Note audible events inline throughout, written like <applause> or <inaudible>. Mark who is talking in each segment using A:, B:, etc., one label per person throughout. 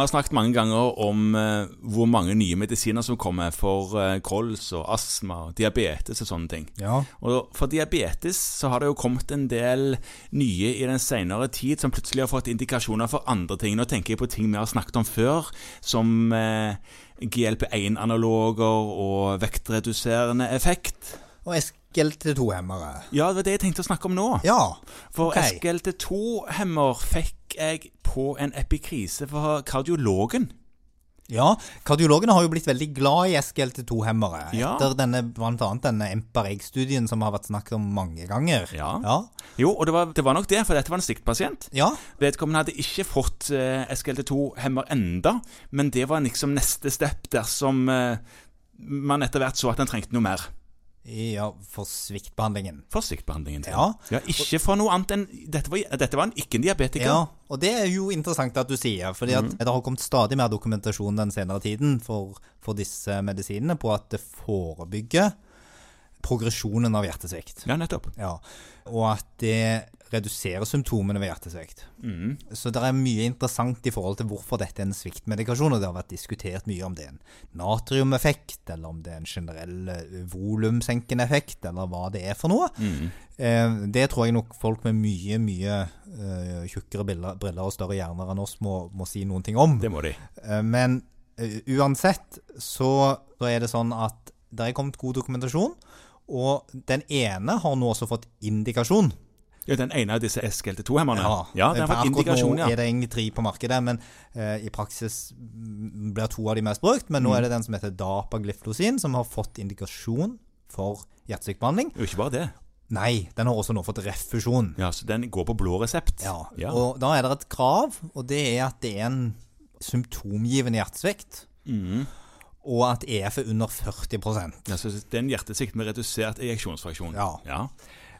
A: har snakket mange ganger om eh, hvor mange nye medisiner som kommer for eh, kols og astma og diabetes og sånne ting.
B: Ja.
A: Og for diabetes så har det jo kommet en del nye i den senere tid som plutselig har fått indikasjoner for andre ting. Nå tenker jeg på ting vi har snakket om før, som eh, GLP-1-analoger og vektreduserende effekt.
B: Og SGLT2-hemmere.
A: Ja, det var det jeg tenkte å snakke om nå.
B: Ja.
A: For
B: ok.
A: SGLT2-hemmer fikk jeg på en epikrise fra kardiologen.
B: Ja, kardiologene har jo blitt veldig glad i SGLT2-hemmere.
A: Ja.
B: Etter denne, blant annet denne EMPA-REG-studien som har vært snakket om mange ganger.
A: Ja.
B: Ja.
A: Jo, og det var, det var nok det, for dette var en sviktpasient.
B: Ja.
A: Vedkommende hadde ikke fått eh, SGLT2-hemmer enda, men det var liksom neste step dersom eh, man etter hvert så at en trengte noe mer
B: ja for sviktbehandlingen.
A: for sviktbehandlingen. sin.
B: Ja.
A: ja, ikke for noe annet enn Dette var, dette var en ikke-diabetiker.
B: Ja, og det er jo interessant at du sier, fordi
A: Mm.
B: at det har kommet stadig mer dokumentasjon den senere tiden for, for disse medisinene på at det forebygger progresjonen av hjertesvikt.
A: Ja, nettopp.
B: Ja, og at det reduserer symptomene ved hjertesvikt. Så det er mye interessant i forhold til hvorfor dette er en sviktmedikasjon, og det har vært diskutert mye om det er en natriumeffekt, eller om det er en generell eh, volumsenkende effekt, eller hva det er for noe. Eh, det tror jeg nok folk med mye, mye eh, tjukkere briller, briller og større hjerner enn oss må, må si noen ting om.
A: Det må de.
B: Eh, Men eh, uansett så, så er det sånn at det er kommet god dokumentasjon, og den ene har nå også fått indikasjon.
A: Ja, den ene av disse SGLT2-hemmerne. ja, den har fått
B: akkurat
A: indikasjon,
B: nå
A: ja.
B: er det ingen tre på markedet, men eh, i praksis mm, blir to av de mest brukt. Men nå er det den som heter dapagliflosin, som har fått indikasjon for hjertesykbehandling.
A: Og ikke bare det.
B: Nei, den har også nå fått refusjon.
A: Ja, Så den går på blå resept.
B: Ja,
A: ja.
B: Og da er det et krav, og det er at det er en symptomgivende hjertesvikt.
A: Mm.
B: Og at EF er under 40
A: Ja, så det er en hjertesvikt med redusert ejeksjonsfraksjon.
B: Ja.
A: ja.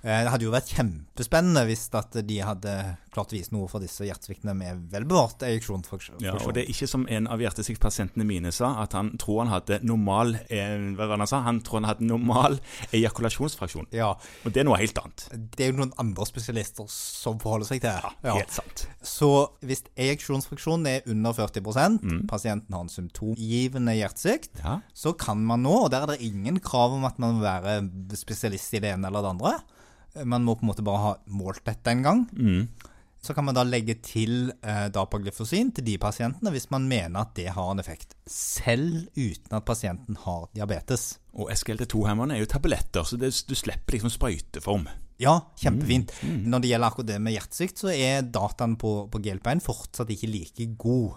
B: Eh, Det hadde jo vært kjempespennende hvis at de hadde klart å vise noe for disse hjertesviktene med velbevart ejeksjonsfunksjon.
A: Ja, og det er ikke som en av hjertesviktpasientene mine sa, at han tror han hadde normal eh, Hva var det han sa? Han tror han hadde normal ejakulasjonsfraksjon.
B: Ja,
A: Og det er noe helt annet.
B: det er jo noen andre spesialister som forholder seg til det. Ja.
A: Helt sant.
B: Så hvis ejeksjonsfraksjonen er under 40
A: Mm.
B: pasienten har en symptomgivende hjertesvikt,
A: Ja.
B: så kan man nå, og der er det ingen krav om at man må være spesialist i det ene eller det andre, man må på en måte bare ha målt dette en gang, så kan man da legge til eh, dapaglyfosin til de pasientene hvis man mener at det har en effekt, selv uten at pasienten har diabetes.
A: Og SGLT2-hemmerne er jo tabletter, så det, du slipper liksom sprøyteform.
B: Ja, kjempefint. Når det gjelder akkurat det med hjertesvikt, så er dataen på, på GLP-1 fortsatt ikke like god.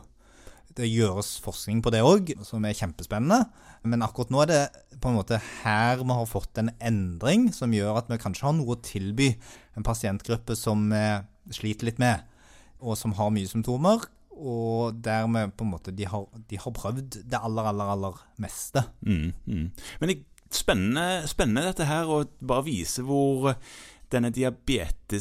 B: Det gjøres forskning på det òg, som er kjempespennende. Men akkurat nå er det på en måte her vi har fått en endring som gjør at vi kanskje har noe å tilby en pasientgruppe som eh, sliter litt med, og som har mye symptomer. Og dermed på en måte de har, de har prøvd det aller, aller, aller meste.
A: Mm, mm. Men det er spennende, spennende dette her, og bare vise hvor eh, denne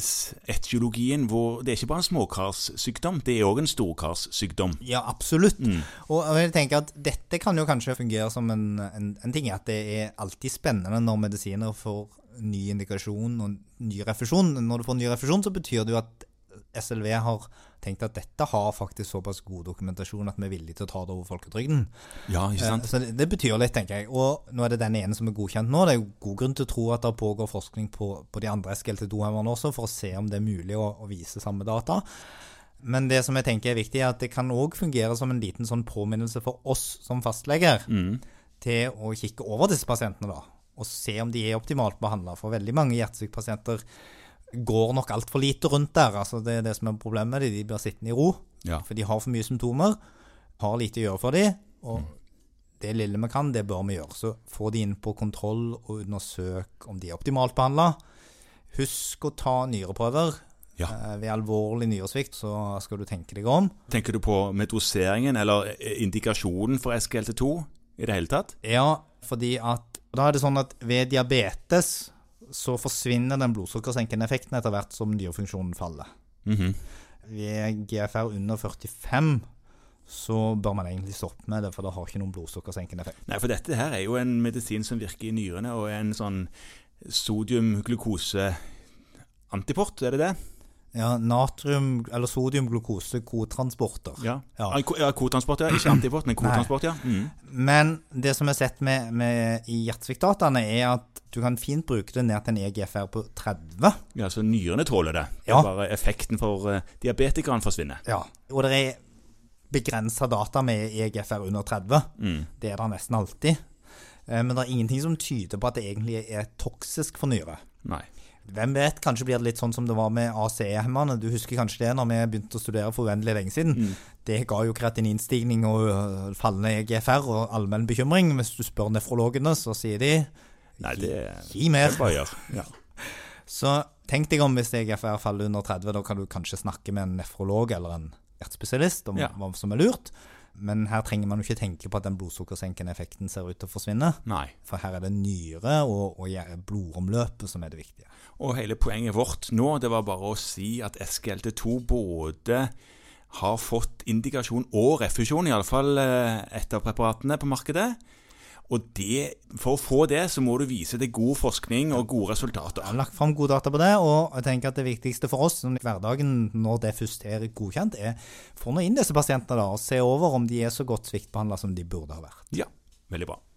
A: diabetesetiologien hvor Det er ikke bare en småkarssykdom, det er òg en storkarssykdom.
B: Ja, absolutt.
A: Mm.
B: Og og jeg tenker at dette kan jo kanskje fungere som en, en, en ting, at det er alltid spennende når medisiner får ny indikasjon og ny refusjon. Når du får ny refusjon, så betyr det jo at SLV har tenkt at dette har faktisk såpass god dokumentasjon at vi er villige til å ta det over folketrygden.
A: Ja, ikke sant?
B: Eh, Så det, det betyr litt, tenker jeg. Og nå er det den ene som er godkjent nå. Det er jo god grunn til å tro at det pågår forskning på, på de andre SGLT2-hemmerne også, for å se om det er mulig å, å vise samme data. Men det som jeg tenker er viktig, er at det kan òg fungere som en liten sånn påminnelse for oss som fastleger, til å kikke over disse pasientene, da. Og se om de er optimalt behandla. For veldig mange hjertesykepasienter går nok altfor lite rundt der. Altså det er det som er problemet. De- De blir sittende i ro.
A: Ja.
B: For de har for mye symptomer. Har lite å gjøre for dem. Og det lille vi kan, det bør vi gjøre. Så få de inn på kontroll og undersøk om de er optimalt behandla. Husk å ta nyreprøver.
A: Ja.
B: Eh, Ved alvorlig nyresvikt så skal du tenke deg om.
A: Tenker du på med doseringen eller eh, indikasjonen for SGLT2 i det hele tatt?
B: Ja, fordi at Da er det sånn at ved diabetes så forsvinner den blodsukkersenkende effekten etter hvert som nyrefunksjonen faller.
A: Mhm.
B: Ved GFR under 45 så bør man egentlig stoppe med det, for det har ikke noen blodsukkersenkende effekt.
A: Nei, for dette her er jo en medisin som virker i nyrene, og er en sånn sodium-glukose-antiport, er det det?
B: Ja, natrium- eller sodiumglukose-kotransporter.
A: Ja,
B: Ja.
A: Ah, ko- ja kotransport, ja. Ikke antiport, <clears throat> men kotransport, ja. Mm.
B: Men det som er sett med, med i hjertesviktdataene, er at du kan fint bruke det ned til en E EGFR på 30.
A: ja. Så nyrene tåler det. Det er
B: Ja.
A: bare effekten for eh, diabetikeren forsvinner.
B: Og det er begrensa data med E EGFR under 30.
A: Mm.
B: Det er det nesten alltid. Eh, Men det er ingenting som tyder på at det egentlig er toksisk for nyre.
A: Nei.
B: Hvem vet, kanskje blir det litt sånn som det var med ACE-hemmerne. Du husker kanskje det når vi begynte å studere for uendelig lenge siden.
A: Mm.
B: Det ga jo kreatininstigning og øh, fallende EGFR og allmenn bekymring. Hvis du spør nefrologene, så sier de
A: Nei, det
B: gi mer.
A: bare gjør. Ja.
B: Så tenk deg om hvis E EGFR faller under 30, da kan du kanskje snakke med en nefrolog eller en hjertespesialist om
A: Ja.
B: hva som er lurt. Men her trenger man jo ikke tenke på at den blodsukkersenkende effekten ser ut til å forsvinne.
A: Nei.
B: For her er det nyre og, og hjer- blodomløpet som er det viktige.
A: Og hele poenget vårt nå, det var bare å si at SGLT2 både har fått indikasjon og refusjon, iallfall eh, etter preparatene på markedet. Og det, for å få det, så må du vise til god forskning og gode
B: har
A: resultater.
B: lagt fram gode data på det, og jeg tenker at det viktigste for oss som i hverdagen når det først er godkjent, er få nå inn disse pasientene da, og se over om de er så godt sviktbehandla som de burde ha vært.
A: Ja, veldig bra.